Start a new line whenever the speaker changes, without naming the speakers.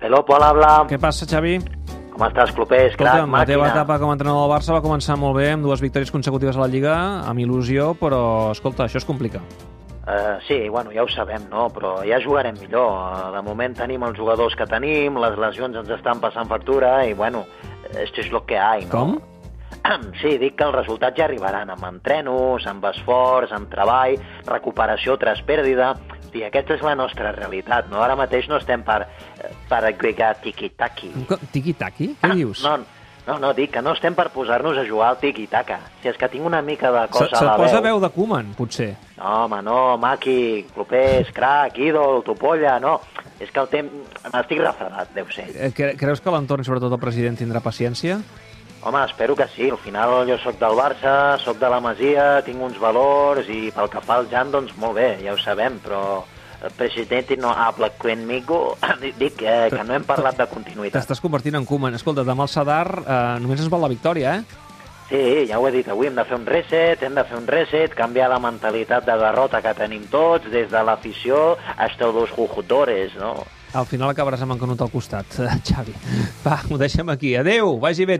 Hello, Pol, habla.
Què passa, Xavi?
Com estàs, clopers? Crac,
la
màquina.
teva etapa com a entrenador del Barça va començar molt bé, amb dues victòries consecutives a la Lliga, amb il·lusió, però, escolta, això es complica.
Eh, sí, bueno, ja ho sabem, no? Però ja jugarem millor. Eh, De moment tenim els jugadors que tenim, les lesions ens estan passant factura i, bueno, esto es lo que hay, no?
Com?
Sí, dic que els resultats ja arribaran amb entrenos, amb esforç, amb treball, recuperació tras pèrdida... I aquesta és la nostra realitat, no? Ara mateix no estem per, eh, per agregar tiqui-taqui.
Un co- Tiqui-taqui? Què dius?
Ah, No, no, no, dic que no estem per posar-nos a jugar al tiqui-taca. Si és que tinc una mica de
Se,
cosa
se
a la
posa
veu.
veu de Koeman, potser.
No, home, no, maqui, clopers, crac, ídol, topolla, no. És que el temps... M'estic refredat, deu ser.
Eh, cre- Creus que l'entorn, sobretot el president, tindrà paciència?
Home, espero que sí. Al final jo sóc del Barça, sóc de la Masia, tinc uns valors i pel que fa al Jan, doncs molt bé, ja ho sabem, però el president no habla conmigo. Dic eh, que no hem parlat de continuïtat.
T'estàs convertint en Koeman. Escolta, demà el Sadar eh, només es val la victòria, eh?
Sí, ja ho he dit avui, hem de fer un reset, hem de fer un reset, canviar la mentalitat de derrota que tenim tots, des de l'afició hasta los jugadores, no?
Al final acabaràs amb en Canut al costat, eh, Xavi. Va, ho deixem aquí. Adeu, vagi bé.